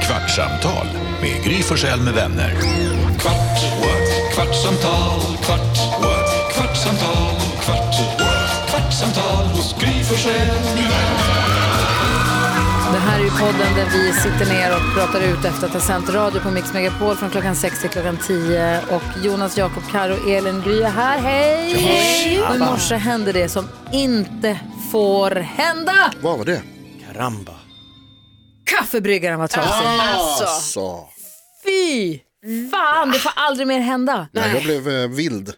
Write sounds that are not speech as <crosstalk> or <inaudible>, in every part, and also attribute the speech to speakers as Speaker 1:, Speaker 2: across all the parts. Speaker 1: Kvartsamtal med Gry Forssell med vänner. Kvart, what? kvartsamtal, kvart, what? kvartsamtal, kvart, what? kvartsamtal hos Gry Forssell med vänner.
Speaker 2: Det här är ju podden där vi sitter ner och pratar ut efter att ha sänt radio på Mix Megapol från klockan 6 till klockan 10. Och Jonas, Jakob, Karo, Elin, Gry är här. Hej! Hej! Och i morse hände det som inte får hända.
Speaker 3: Vad var det?
Speaker 4: Ramba.
Speaker 2: Kaffebryggaren var trasig.
Speaker 3: Alltså.
Speaker 2: Fy fan, det får aldrig mer hända.
Speaker 3: Nej, jag blev eh, vild.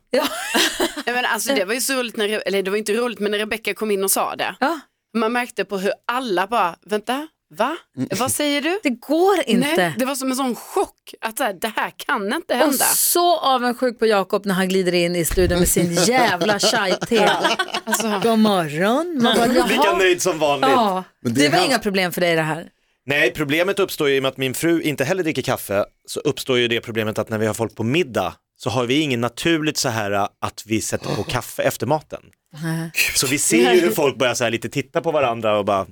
Speaker 5: Nej, men alltså, det var ju så roligt, när, Re- eller det var inte roligt, men när Rebecca kom in och sa det.
Speaker 2: Ja,
Speaker 5: Man märkte på hur alla bara, vänta, va? Vad säger du?
Speaker 2: det går Mm. inte.
Speaker 5: Nej, det var som en sån chock, att så här, det här kan inte
Speaker 2: Och
Speaker 5: hända.
Speaker 2: så avundsjuk på Jakob när han glider in i studion med
Speaker 5: <laughs>
Speaker 2: sin jävla chai-te.
Speaker 5: Alltså.
Speaker 2: God morgon. Man bara,
Speaker 4: Lika
Speaker 2: jaha.
Speaker 4: nöjd som vanligt.
Speaker 2: Ja,
Speaker 3: Men
Speaker 2: det
Speaker 3: det
Speaker 2: var
Speaker 3: här-
Speaker 2: inga problem för dig det här.
Speaker 4: Nej, problemet uppstår ju i och med att min fru inte heller dricker kaffe, så uppstår ju det problemet att när vi har folk på middag så har vi ingen naturligt så här äh, att vi sätter på kaffe efter maten. Så vi ser ju hur folk börjar så här lite titta på varandra och bara,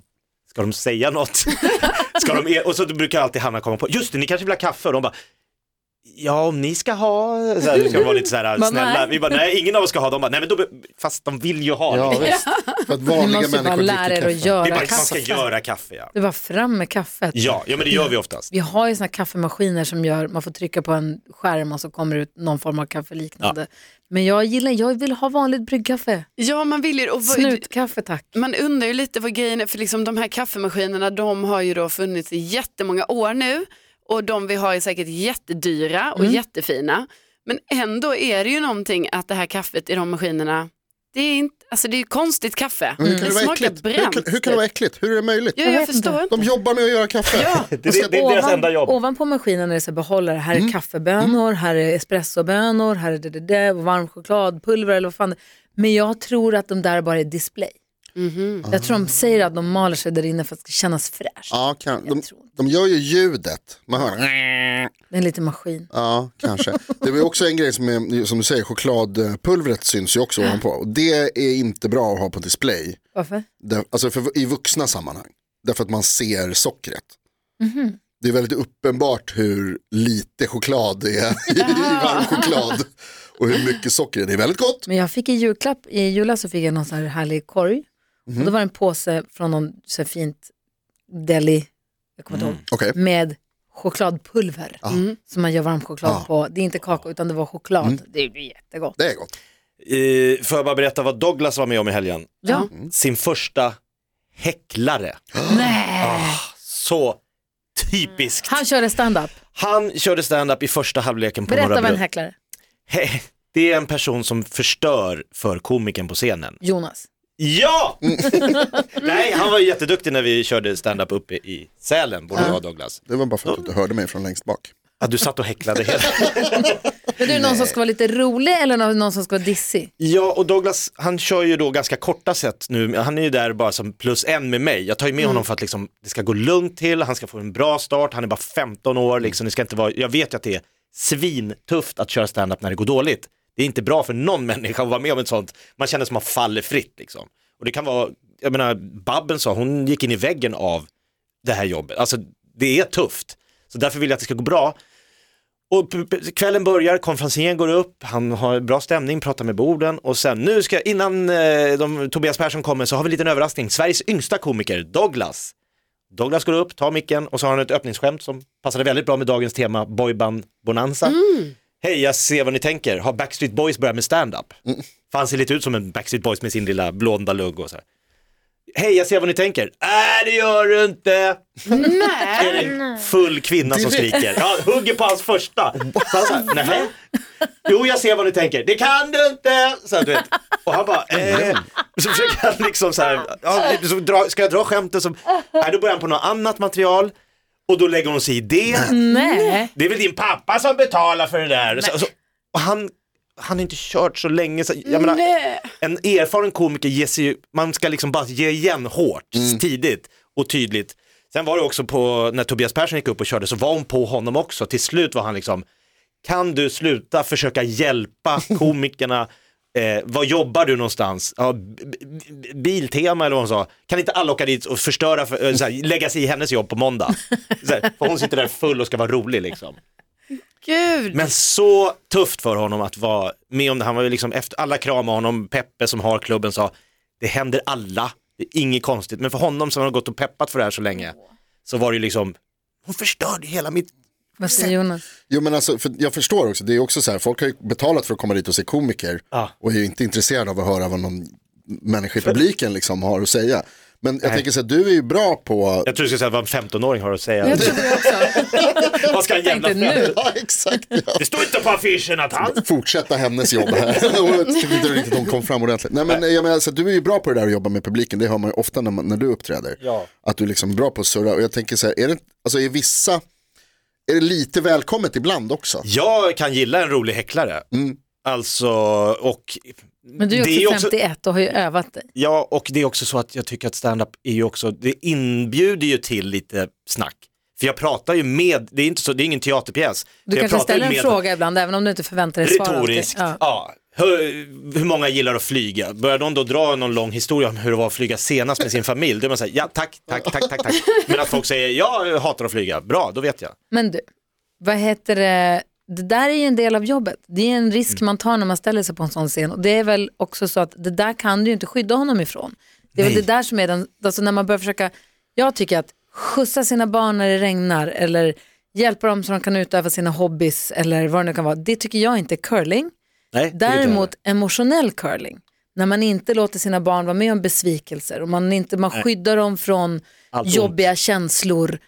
Speaker 4: ska de
Speaker 2: <laughs>
Speaker 4: säga något? Ska de e-? Och så brukar alltid Hanna komma på, just det, ni kanske vill ha kaffe? Och de bara, ja om ni ska ha, så här, ska de vara lite så
Speaker 2: <laughs>
Speaker 4: här
Speaker 2: Bara,
Speaker 4: snälla.
Speaker 2: nej.
Speaker 4: Vi bara, nej ingen av oss ska ha, de bara, nej men då, be- fast de vill ju ha.
Speaker 3: Ja,
Speaker 4: det.
Speaker 3: visst. För att
Speaker 2: Ni
Speaker 3: vanliga
Speaker 2: måste bara
Speaker 3: människor
Speaker 2: lära
Speaker 3: dricker
Speaker 2: er
Speaker 3: kaffe.
Speaker 2: att
Speaker 4: Det är
Speaker 2: göra
Speaker 4: bara, man
Speaker 2: kaffe.
Speaker 4: ska göra kaffe ja.
Speaker 2: Det var fram med kaffet.
Speaker 4: Ja, ja men det gör vi oftast.
Speaker 2: Vi har ju såna kaffemaskiner som gör, man får trycka på en skärm och så kommer det ut någon form av kaffeliknande. Men jag gillar, jag vill ha vanligt bryggkaffe.
Speaker 5: Ja, man vill ju, och vad-
Speaker 2: Snutkaffe tack.
Speaker 5: man undrar ju lite vad grejen är, för liksom de här kaffemaskinerna de har ju då funnits i jättemånga år nu och de vi har är säkert jättedyra och
Speaker 3: Mm.
Speaker 5: jättefina. Men ändå är det ju någonting att det här kaffet i de maskinerna, det är inte, alltså det är ju konstigt kaffe.
Speaker 3: Mm. Hur kan
Speaker 5: Det
Speaker 3: det vara
Speaker 5: smakar
Speaker 3: äckligt? Hur
Speaker 5: bränt.
Speaker 3: kan, hur kan det vara äckligt? Hur är det möjligt?
Speaker 5: ja, jag,
Speaker 2: Jag vet
Speaker 5: förstår
Speaker 2: inte.
Speaker 5: inte.
Speaker 3: De jobbar med att göra kaffe.
Speaker 4: Det, det, det är deras enda jobb.
Speaker 2: Ovanpå maskinen är det så här behållare, här är
Speaker 3: Mm.
Speaker 2: kaffebönor, här är espressobönor, här är det, det, det, och varm chokladpulver eller vad fan det Men jag tror att de där bara är display.
Speaker 4: Mhm.
Speaker 2: Jag tror de säger att de maler sig där inne för att det ska kännas fräscht.
Speaker 3: Ja, kan, de,
Speaker 2: Jag tror
Speaker 3: de gör ju ljudet. Man hör.
Speaker 2: Det är en liten maskin.
Speaker 3: Ja, kanske. Det var ju också en grej som, är, som du säger, chokladpulvret syns ju också ovanpå. Och det är inte bra att ha på display.
Speaker 2: Varför?
Speaker 3: Där- alltså för, i vuxna sammanhang. Därför att man ser sockret. Det är väldigt uppenbart hur lite choklad det är i varm choklad. Och hur mycket socker det är. Det är väldigt gott.
Speaker 2: Men jag fick i julklapp, i julas så fick jag någon sån här härlig korg. Och då var det en påse från någon så här fint deli, jag kommer inte ihåg,
Speaker 3: Okej,
Speaker 2: med chokladpulver. Som man gör varm choklad
Speaker 3: Ja.
Speaker 2: på. Det är inte kakao utan det var choklad. Det blir jättegott.
Speaker 3: det är gott.
Speaker 4: Eh, får jag bara berätta vad Douglas var med om i helgen?
Speaker 2: Ja.
Speaker 4: Sin första häcklare. Ah,
Speaker 2: Nej.
Speaker 4: Så typiskt.
Speaker 2: Han körde stand-up.
Speaker 4: Han körde stand-up i första halvleken på
Speaker 2: Berätta
Speaker 4: Norra
Speaker 2: vad en
Speaker 4: Brunn.
Speaker 2: häcklare.
Speaker 4: He- Det är en person som förstör för komikern på scenen.
Speaker 2: Jonas. <laughs>
Speaker 4: Ja! Nej, han var ju jätteduktig när vi körde stand-up uppe i Sälen, både jag och Douglas.
Speaker 3: Det var bara för att du inte hörde mig från längst bak.
Speaker 4: Ja, du satt och häcklade hela
Speaker 2: Är du någon som ska vara lite rolig eller någon någon som ska vara dissig?
Speaker 4: Ja, och Douglas han kör ju då ganska korta set nu. Han är ju där bara som plus en med mig. Jag tar ju med honom för att liksom, det ska gå lugnt till, han ska få en bra start, han är bara 15 år. Liksom, det ska inte vara, jag vet ju att det är svintufft att köra stand-up när det går dåligt. Det är inte bra för någon <laughs> människa att vara med om ett sånt. Man känner som man faller fritt. Liksom. Och det kan vara, jag menar, Babben sa, hon gick in i väggen av det här jobbet. Alltså det är tufft. Så därför vill jag att det ska gå bra. Och p- p- kvällen börjar, konferencieren går upp, han har bra stämning, pratar med borden och sen nu ska, innan eh, de, Tobias Persson kommer så har vi en liten överraskning, Sveriges yngsta komiker, Douglas. Douglas går upp, tar micken och så har han ett öppningsskämt som passade väldigt bra med dagens tema, boyband bonanza. Hej, jag ser vad ni tänker, har Backstreet Boys börjat med stand-up? För han ser lite ut som en Backstreet Boys med sin lilla blonda lugg och så här. Hej, jag ser vad ni tänker. Nej, det gör du inte!
Speaker 5: Nej.
Speaker 4: är det full kvinna som
Speaker 3: Direkt.
Speaker 4: skriker. Ja, hugger på hans första. Så han sa, nej. Jo, jag ser vad ni tänker. Det kan du inte! Så här, du vet. Och han bara, eh. Så försöker han liksom så här, ja, så dra, ska jag dra skämten som, nej då börjar han på något annat material. Och då lägger hon sig i det.
Speaker 2: Nej.
Speaker 4: Det är väl din pappa som betalar för det där. Så, så, och han, han har inte kört så länge. Så, jag menar, en erfaren komiker ger sig ju, man ska liksom bara ge igen hårt, tidigt och tydligt. Sen var det också på, när Tobias Persson gick upp och körde så var hon på honom också. Till slut var han liksom, kan du sluta försöka hjälpa komikerna eh, vad jobbar du någonstans? Ja, b- b- biltema eller vad hon sa. Kan inte alla åka dit och förstöra, för, eh, så här, lägga sig i hennes jobb på måndag? Så här, för hon sitter där full och ska vara rolig liksom.
Speaker 5: Gud.
Speaker 4: Men så tufft för honom att vara med om det. Han var ju liksom efter alla kramade honom, Peppe som har klubben sa, det händer alla, det är inget konstigt. Men för honom som har gått och peppat för det här så länge, så var det ju liksom, hon förstörde hela mitt
Speaker 2: Vad säger Jonas?
Speaker 3: Jo men alltså, för jag förstår också, det är också så här, folk har ju betalat för att komma dit och se komiker
Speaker 4: Ja.
Speaker 3: och är ju inte intresserade av att höra vad någon människa i publiken liksom har att säga. Men jag tänker så här, du är ju bra på,
Speaker 4: Jag tror du ska säga vad en 15-åring har att säga.
Speaker 2: Jag tror det också.
Speaker 4: <laughs> Vad ska en jävla
Speaker 2: Tänkte nu.
Speaker 4: fem-
Speaker 3: <laughs> ja exakt, ja.
Speaker 4: Det står inte på affischen att han...
Speaker 3: fortsätta hennes jobb här. <laughs> Och jag tycker inte riktigt hon kom fram ordentligt. Nej men jag menar, alltså, du är ju bra på det där att jobba med publiken, det hör man ju ofta när, man, när du uppträder.
Speaker 4: Ja.
Speaker 3: Att du är liksom bra på att surra och jag tänker så här, är det, alltså, är vissa, är det lite välkommet ibland också?
Speaker 4: Jag kan gilla en rolig häcklare. Alltså, och...
Speaker 2: Men du är
Speaker 4: det
Speaker 2: ju också 51 och har ju övat dig.
Speaker 4: Ja, och det är också så att jag tycker att stand-up är ju också, det inbjuder ju till lite snack. För jag pratar ju med, det är, inte så, det är ingen teaterpjäs.
Speaker 2: Du
Speaker 4: Så jag
Speaker 2: kanske
Speaker 4: pratar ju
Speaker 2: ställer en
Speaker 4: med-
Speaker 2: fråga ibland även om du inte förväntar dig svar. alltid.
Speaker 4: Retoriskt,
Speaker 2: Ja.
Speaker 4: ja. Hur, hur många gillar att flyga? Börjar de då dra någon lång historia om hur det var att flyga senast med sin familj, då är man såhär, ja tack, tack, tack, tack, tack. Men att folk säger, jag hatar att flyga, bra, då vet jag.
Speaker 2: Men du, vad heter det? Det där är ju en del av jobbet. Det är en risk man tar när man ställer sig på en sån scen. Och det är väl också så att det där kan du ju inte skydda honom ifrån. Det är väl
Speaker 4: Nej.
Speaker 2: det där som är den, alltså när man börjar försöka, jag tycker att skjutsa sina barn när det regnar eller hjälpa dem så de kan utöva sina hobbys eller vad det nu kan vara. Det tycker jag inte är curling.
Speaker 4: Nej, det vet jag.
Speaker 2: Däremot emotionell curling, när man inte låter sina barn vara med om besvikelser och man, inte, man skyddar dem från
Speaker 4: Allt ont.
Speaker 2: jobbiga känslor,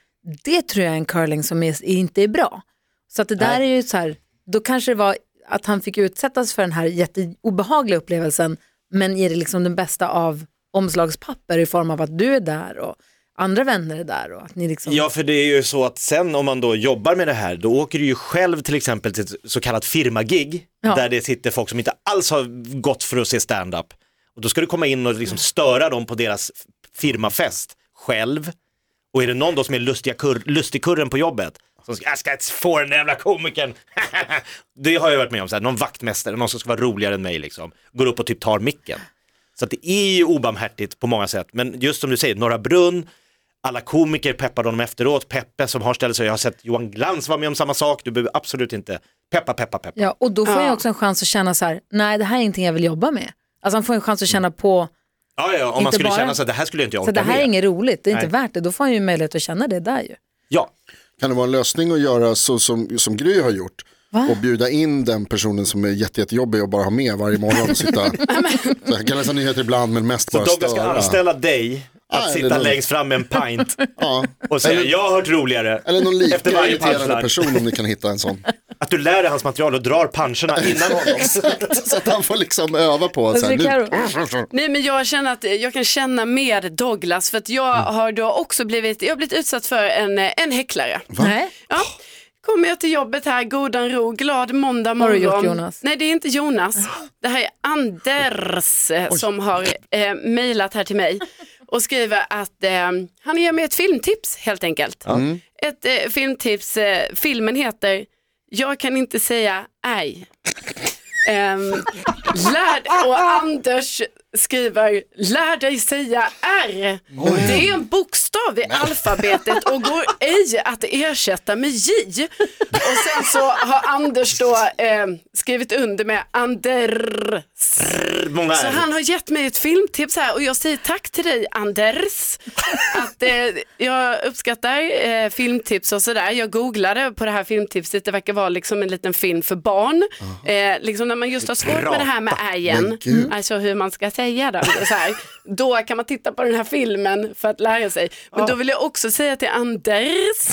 Speaker 2: det tror jag är en curling som är, inte är bra. Så att det där är ju så här, då kanske det var att han fick utsättas för den här jätteobehagliga upplevelsen, men är det liksom den bästa av omslagspapper i form av att du är där och andra vänner är där och att ni liksom...
Speaker 4: Ja, för det är ju så att sen om man då jobbar med det här, då åker du ju själv till exempel till ett så kallat firmagig,
Speaker 2: Ja.
Speaker 4: där det sitter folk som inte alls har gått för att se stand-up. Och då ska du komma in och liksom störa dem på deras firmafest själv. Och är det någon då som är lustiga kur- lustigkurren på jobbet, som ska, jag ska få den där jävla komikern. <laughs> det har jag varit med om, så här, någon vaktmästare, någon som ska vara roligare än mig liksom, går upp och typ tar micken. Så att det är ju obarmhärtigt på många sätt, men just som du säger, Norra Brunn, alla komiker peppade honom efteråt, Peppe som har ställt sig, jag har sett Johan Glans vara med om samma sak, du behöver absolut inte peppa, peppa, peppa.
Speaker 2: Ja, och då får han ju
Speaker 5: Ja.
Speaker 2: också en chans att känna så här, nej det här är ingenting jag vill jobba med. Alltså han får en chans att känna på
Speaker 4: Ja, ja, om man
Speaker 2: Inte
Speaker 4: skulle
Speaker 2: bara.
Speaker 4: känna så här, det här skulle jag inte
Speaker 2: Så
Speaker 4: orka
Speaker 2: det här är
Speaker 4: med.
Speaker 2: inget roligt, det är inte
Speaker 4: Nej.
Speaker 2: värt det. Då får han ju möjlighet att känna det där ju.
Speaker 4: Ja,
Speaker 3: Kan det vara en lösning att göra så som, som Gry har gjort?
Speaker 2: Va?
Speaker 3: Och bjuda in den personen som är jätte, jättejobbig och bara ha med varje morgon och sitta. så jag kan läsa nyheter ibland men mest
Speaker 4: så
Speaker 3: bara
Speaker 4: Douglas ska anställa dig att
Speaker 3: Ja,
Speaker 4: sitta
Speaker 3: eller någon-
Speaker 4: längst fram med en pint
Speaker 3: Ja.
Speaker 4: och säga, jag har hört roligare.
Speaker 3: Eller någon
Speaker 4: Efter
Speaker 3: lika
Speaker 4: varje
Speaker 3: irriterande
Speaker 4: punchline.
Speaker 3: person om ni kan hitta en sån.
Speaker 4: Att du lär dig hans material och drar puncherna <laughs> innan honom.
Speaker 3: Exakt, <laughs> så att han får liksom öva på att
Speaker 2: Vad
Speaker 3: så här,
Speaker 2: säger
Speaker 3: nu...
Speaker 5: Nej men jag känner att jag kan känna mer Douglas för att jag
Speaker 3: Mm.
Speaker 5: har då också blivit, jag har blivit utsatt för en, eh, en häcklare.
Speaker 2: Nej.
Speaker 5: Ja. Kommer jag till jobbet här, godan ro, glad måndag morgon.
Speaker 2: Vad har du gjort, Jonas?
Speaker 5: Nej det är inte Jonas.
Speaker 2: <gasps>
Speaker 5: Det här är Anders eh, som har eh, mejlat här till mig och skriver att eh, han ger mig ett filmtips helt enkelt. Ett eh, filmtips, eh, filmen heter Jag kan inte säga aj. Ehm, lär, och Anders skriver lär dig säga R. Det är en bokstav i alfabetet och går ej att ersätta med J. Och sen så har Anders då eh, skrivit under med Anders.
Speaker 4: Många
Speaker 5: Så
Speaker 4: är.
Speaker 5: han har gett mig ett filmtips här och jag säger tack till dig Anders. Att, eh, jag uppskattar eh, filmtips och sådär. Jag googlade på det här filmtipset, det verkar vara liksom en liten film för barn. Eh, liksom när man just har svårt med det här med ägen, alltså hur man ska säga det. Alltså, Så här, <laughs> då kan man titta på den här filmen för att lära sig. Men då vill jag också säga till Anders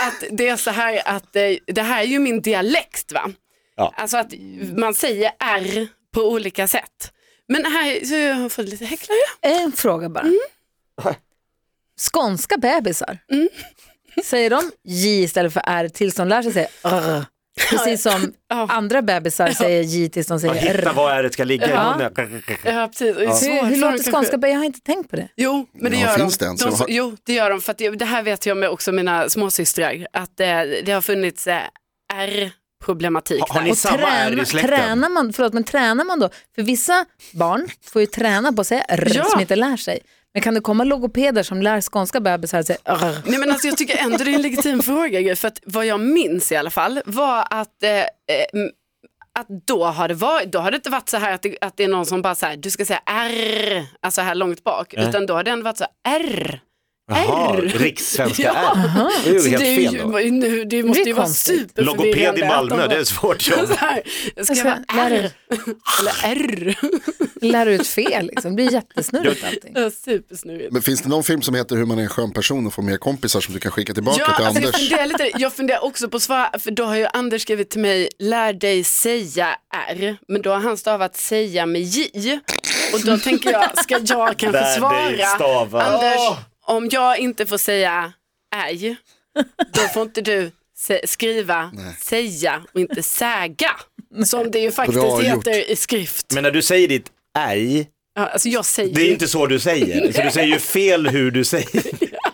Speaker 5: att det är så här att eh, det här är ju min dialekt va.
Speaker 4: Ja.
Speaker 5: Alltså att man säger R på olika sätt. Men här, så jag har fått lite häcklare.
Speaker 2: En fråga bara.
Speaker 5: Mm.
Speaker 2: Skånska bebisar,
Speaker 5: Mm.
Speaker 2: säger de J istället för R tills de lär sig säga R? Precis som
Speaker 5: Ja.
Speaker 2: andra bebisar säger J tills de
Speaker 4: Och
Speaker 2: säger
Speaker 4: hitta
Speaker 2: R.
Speaker 4: var är det ska ligga i
Speaker 2: Ja.
Speaker 4: munnen.
Speaker 5: Ja, precis. Och det är svårt
Speaker 2: Hur,
Speaker 5: för
Speaker 2: hur
Speaker 5: dem
Speaker 2: låter
Speaker 5: kanske.
Speaker 2: skånska bebisar? Jag har inte tänkt på det.
Speaker 5: Jo, men det
Speaker 3: Ja,
Speaker 5: gör
Speaker 3: finns
Speaker 5: de.
Speaker 3: det ens?
Speaker 5: de
Speaker 3: Har-
Speaker 5: Jo, det gör de. För att det, det här vet jag med också mina småsystrar, att eh, det har funnits eh, R problematik
Speaker 4: Har- har ni
Speaker 5: där.
Speaker 2: Och
Speaker 4: samma är i
Speaker 2: träna,
Speaker 4: släkten.
Speaker 2: tränar man, förlåt, men tränar man då? För vissa barn får ju träna på att säga r
Speaker 5: Ja.
Speaker 2: som inte lär sig. Men kan det komma logopeder som lär skånska bebisar att säga r?
Speaker 5: Nej, men alltså, jag tycker ändå det är en legitim fråga. Gry, För att vad jag minns i alla fall var att, eh, eh, m- att då, har det varit, då har det inte varit så här att det, att det är någon som bara så här, du ska säga R, alltså här långt bak,
Speaker 4: Nej.
Speaker 5: utan då har det ändå varit så här, R.
Speaker 4: Jaha,
Speaker 5: R.
Speaker 4: rikssvenska
Speaker 5: Ja.
Speaker 4: R. Det är
Speaker 5: Så
Speaker 4: ju
Speaker 5: det,
Speaker 4: helt
Speaker 5: är ju,
Speaker 4: fel då.
Speaker 5: nu, det måste
Speaker 2: Det
Speaker 5: ju
Speaker 2: är
Speaker 5: vara
Speaker 2: konstigt.
Speaker 5: superförvirrande.
Speaker 4: Logoped i
Speaker 5: att de
Speaker 4: Malmö,
Speaker 5: bara-
Speaker 4: det är ett svårt
Speaker 5: <laughs>
Speaker 4: jobb.
Speaker 5: så
Speaker 2: Alltså,
Speaker 5: här, ska jag vara R? <laughs> Eller R.
Speaker 2: Lär ut fel liksom. Det blir jättesnurrigt allting.
Speaker 5: Ja, Supersnurrigt.
Speaker 3: Men finns det någon film som heter Hur man är en skön person och får mer kompisar som du kan skicka tillbaka
Speaker 5: Ja,
Speaker 3: till
Speaker 5: alltså jag,
Speaker 3: Anders?
Speaker 5: funderar lite, jag funderar också på svar, för då har ju Anders skrivit till mig, lär dig säga R, men då har han stavat säga med J. Och då tänker jag, ska jag kanske
Speaker 4: Lär dig
Speaker 5: svara,
Speaker 4: stava.
Speaker 5: Anders,
Speaker 4: Åh!
Speaker 5: om jag inte får säga ej, då får inte du se- skriva säga och inte säga, som det ju faktiskt
Speaker 3: Bra
Speaker 5: heter
Speaker 3: gjort.
Speaker 5: i skrift.
Speaker 4: Men när du säger ditt ej,
Speaker 5: Ja, alltså jag säger
Speaker 4: det är ju inte så du säger. Så du säger ju fel hur du säger.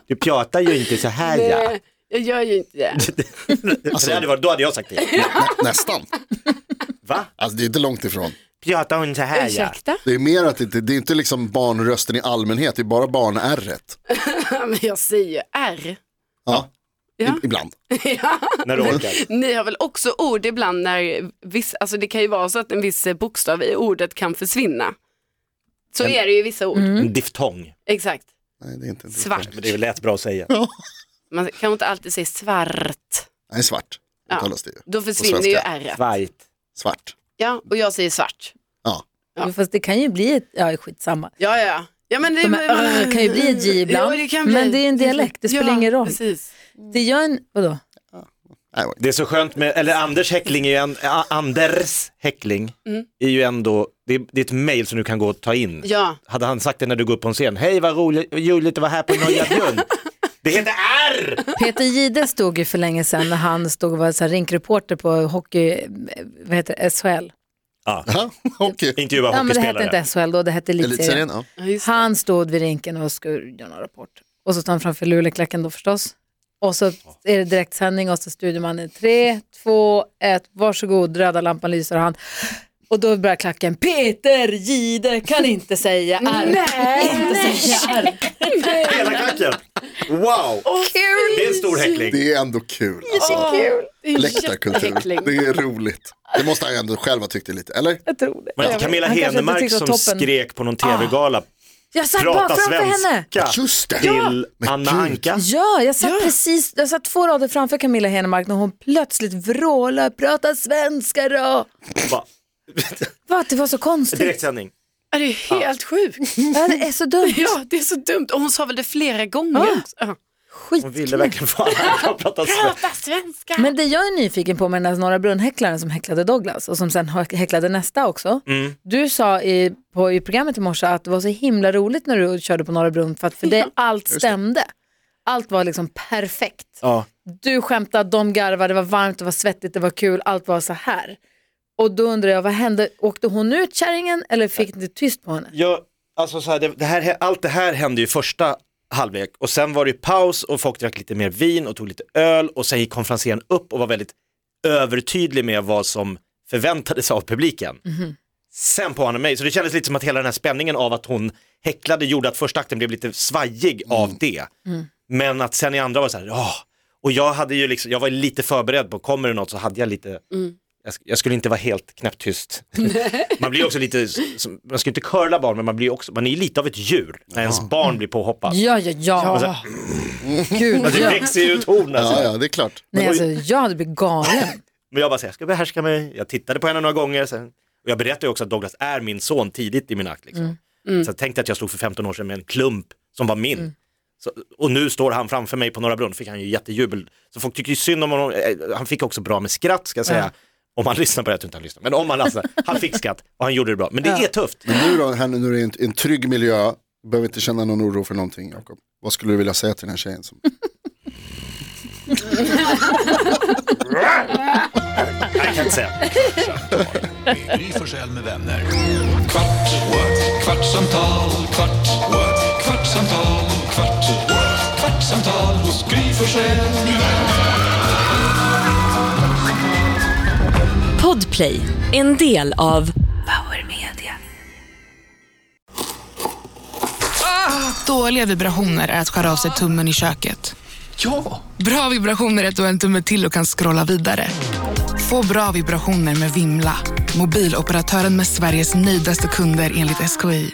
Speaker 4: Du pratar ju inte så här ja.
Speaker 5: Nej, jag gör ju inte det.
Speaker 4: För det hade varit, då hade jag sagt det.
Speaker 3: Nä, nästan.
Speaker 4: Va?
Speaker 3: Alltså det är inte långt ifrån.
Speaker 4: Pratar hon så här ja?
Speaker 5: Ursäkta,
Speaker 3: Det är mer att det, inte- det är inte liksom barnrösten i allmänhet, det är bara barn-ärret.
Speaker 5: men jag säger R.
Speaker 3: Ja.
Speaker 5: <laughs> Ja.
Speaker 3: I- Ibland.
Speaker 4: När du orkar.
Speaker 5: Ni har väl också ord ibland när viss, alltså det kan ju vara så att en viss bokstav i ordet kan försvinna. Så är det ju i vissa ord.
Speaker 2: Mm.
Speaker 4: En diftong.
Speaker 5: Exakt.
Speaker 3: Nej, det är inte det.
Speaker 5: Svart.
Speaker 4: Men det lät bra att säga.
Speaker 5: Man kan inte alltid säga svart.
Speaker 3: Nej, svart.
Speaker 5: Ja.
Speaker 3: Uttalas det ju.
Speaker 5: Då försvinner
Speaker 3: svenska.
Speaker 5: ju r.
Speaker 4: Svajt.
Speaker 3: Svart.
Speaker 5: Ja, och jag säger svart.
Speaker 3: Ja.
Speaker 2: Jo, Fast det kan ju bli ett, ja skitsamma.
Speaker 5: Ja, ja, ja. ja men det
Speaker 2: De här "Arr" kan ju bli ett J ibland, men det är en dialekt, det spelar ingen roll.
Speaker 5: Precis.
Speaker 2: Det gör en, vadå?
Speaker 3: Nej, vad-
Speaker 4: Det är så skönt med, eller Anders häckling är ju en, A- Anders häckling
Speaker 2: Mm.
Speaker 4: är ju ändå, det är, det är ett mejl som du kan gå och ta in.
Speaker 5: Ja.
Speaker 4: Hade han sagt det när du går upp på en scen, hej vad roligt, roligt att vara här på Norra Björn.
Speaker 2: <laughs>
Speaker 4: Det heter R!
Speaker 2: Peter Jihde stod ju för länge sedan när han stod och var så här rinkreporter på hockey, vad heter det, SHL.
Speaker 3: Jaha, <laughs> Okej.
Speaker 4: Intervjua
Speaker 2: Ja men det hette
Speaker 4: hockeyspelare.
Speaker 2: inte SHL då, det hette Elitserien.
Speaker 3: Elitserien, ja.
Speaker 5: Ja, just det.
Speaker 2: Han stod vid rinken och skulle göra någon rapport. Och så står han framför Luleklacken då förstås. Och så är det direktsändning och så studiomannen, tre, två, ett, varsågod, röda lampan lyser och han. Och då börjar klacken, Peter Jihde kan inte säga R. Inte säga R.
Speaker 4: Hela klacken. Wow, det är en stor häckling.
Speaker 3: Det är ändå kul. Alltså,
Speaker 5: Åh, det är
Speaker 3: läktarkultur.
Speaker 5: jätteäckligt.
Speaker 3: Det är roligt. Det måste han ju ändå själv ha tyckt är lite, eller?
Speaker 2: Jag tror det.
Speaker 4: Var det inte Camilla
Speaker 2: Han kanske inte
Speaker 4: Henemark
Speaker 2: tyckte
Speaker 4: som
Speaker 2: det var toppen.
Speaker 4: skrek på någon tv-gala,
Speaker 2: Jag satt bara
Speaker 4: prata
Speaker 2: framför henne.
Speaker 4: svenska
Speaker 3: Just det.
Speaker 4: till
Speaker 3: Men
Speaker 4: Anna
Speaker 3: gud.
Speaker 4: Anka?
Speaker 2: Ja, jag satt precis, jag satt två rader framför Camilla Henemark när hon plötsligt vrålade, prata svenska då.
Speaker 4: Va?
Speaker 2: Va, det var så konstigt.
Speaker 4: Direktsändning.
Speaker 5: Ja, det är helt sjukt.
Speaker 2: <laughs> Ja, det är så dumt.
Speaker 5: Ja, det är så dumt. Och hon sa väl det flera gånger.
Speaker 2: Ja.
Speaker 5: också. Ja.
Speaker 2: Skit.
Speaker 4: Hon ville verkligen få Anna Anka att prata svenska.
Speaker 5: svenska.
Speaker 2: Men det jag är nyfiken på med den här Norra Brunn-häcklaren som häcklade Douglas och som sen hä- häcklade nästa också.
Speaker 4: Mm.
Speaker 2: Du sa i, på, i programmet i morse att det var så himla roligt när du körde på Norra Brunn för att för dig allt stämde. Allt var liksom perfekt.
Speaker 4: Ja.
Speaker 2: Du skämtade, de garvade, det var varmt, det var svettigt, det var kul, allt var så här. Och då undrar jag, vad hände? Åkte hon ut kärringen eller fick ni tyst på henne?
Speaker 4: jag, alltså så här, det, det här, allt det här hände ju första halvlek och sen var det ju paus och folk drack lite mer vin och tog lite öl och sen gick konferensen upp och var väldigt övertydlig med vad som förväntades av publiken. Sen på Anna mig, så det kändes lite som att hela den här spänningen av att hon häcklade gjorde att första akten blev lite svajig av det. Men att sen i andra var det så här, åh. och jag hade ju liksom, jag var lite förberedd på, kommer det något så hade jag lite, jag, sk- jag skulle inte vara helt knäpptyst. man blir också lite, som- man ska ju inte curla barn men man blir också, man är ju lite av ett djur när ens barn blir påhoppat.
Speaker 2: Ja, ja, ja. Gud,
Speaker 4: Alltså, det
Speaker 2: ja.
Speaker 4: växer ju ut horn alltså.
Speaker 3: Ja, ja, det är klart.
Speaker 2: Nej, alltså, jag hade blivit galen.
Speaker 4: Men jag bara säger, jag ska behärska mig. Jag tittade på henne några gånger. Sen. Och jag berättade ju också att Douglas är min son tidigt i min akt. Liksom. Så jag tänkte att jag stod för 15 år sedan med en klump som var min. Så, och nu står han framför mig på Norra Brunn, fick han ju jättejubel. Så folk tycker ju synd om honom. Eh, Han fick också bra med skratt ska jag säga. Om han lyssnar på det, jag tror inte han lyssnar. Men om han lyssnar, han fick skratt och han gjorde det bra. Men det är tufft.
Speaker 3: Men nu då, här nu när det är en, en trygg miljö, behöver inte känna någon oro för någonting, Jakob. Vad skulle du vilja säga till den här tjejen? Som...
Speaker 4: Jag kan inte säga.
Speaker 1: med Gry Forssell med vänner. Kvart, what? kvartsamtal, kvart, what? kvartsamtal, kvart, what? kvartsamtal hos Gry Forssell med vänner.
Speaker 6: Podplay, en del av Power Media.
Speaker 7: Dåliga vibrationer är att skära av sig tummen i köket. Ja! Bra vibrationer är att du har en tumme till och kan scrolla vidare. Få bra vibrationer med Vimla. Mobiloperatören med Sveriges nöjdaste kunder enligt SKI.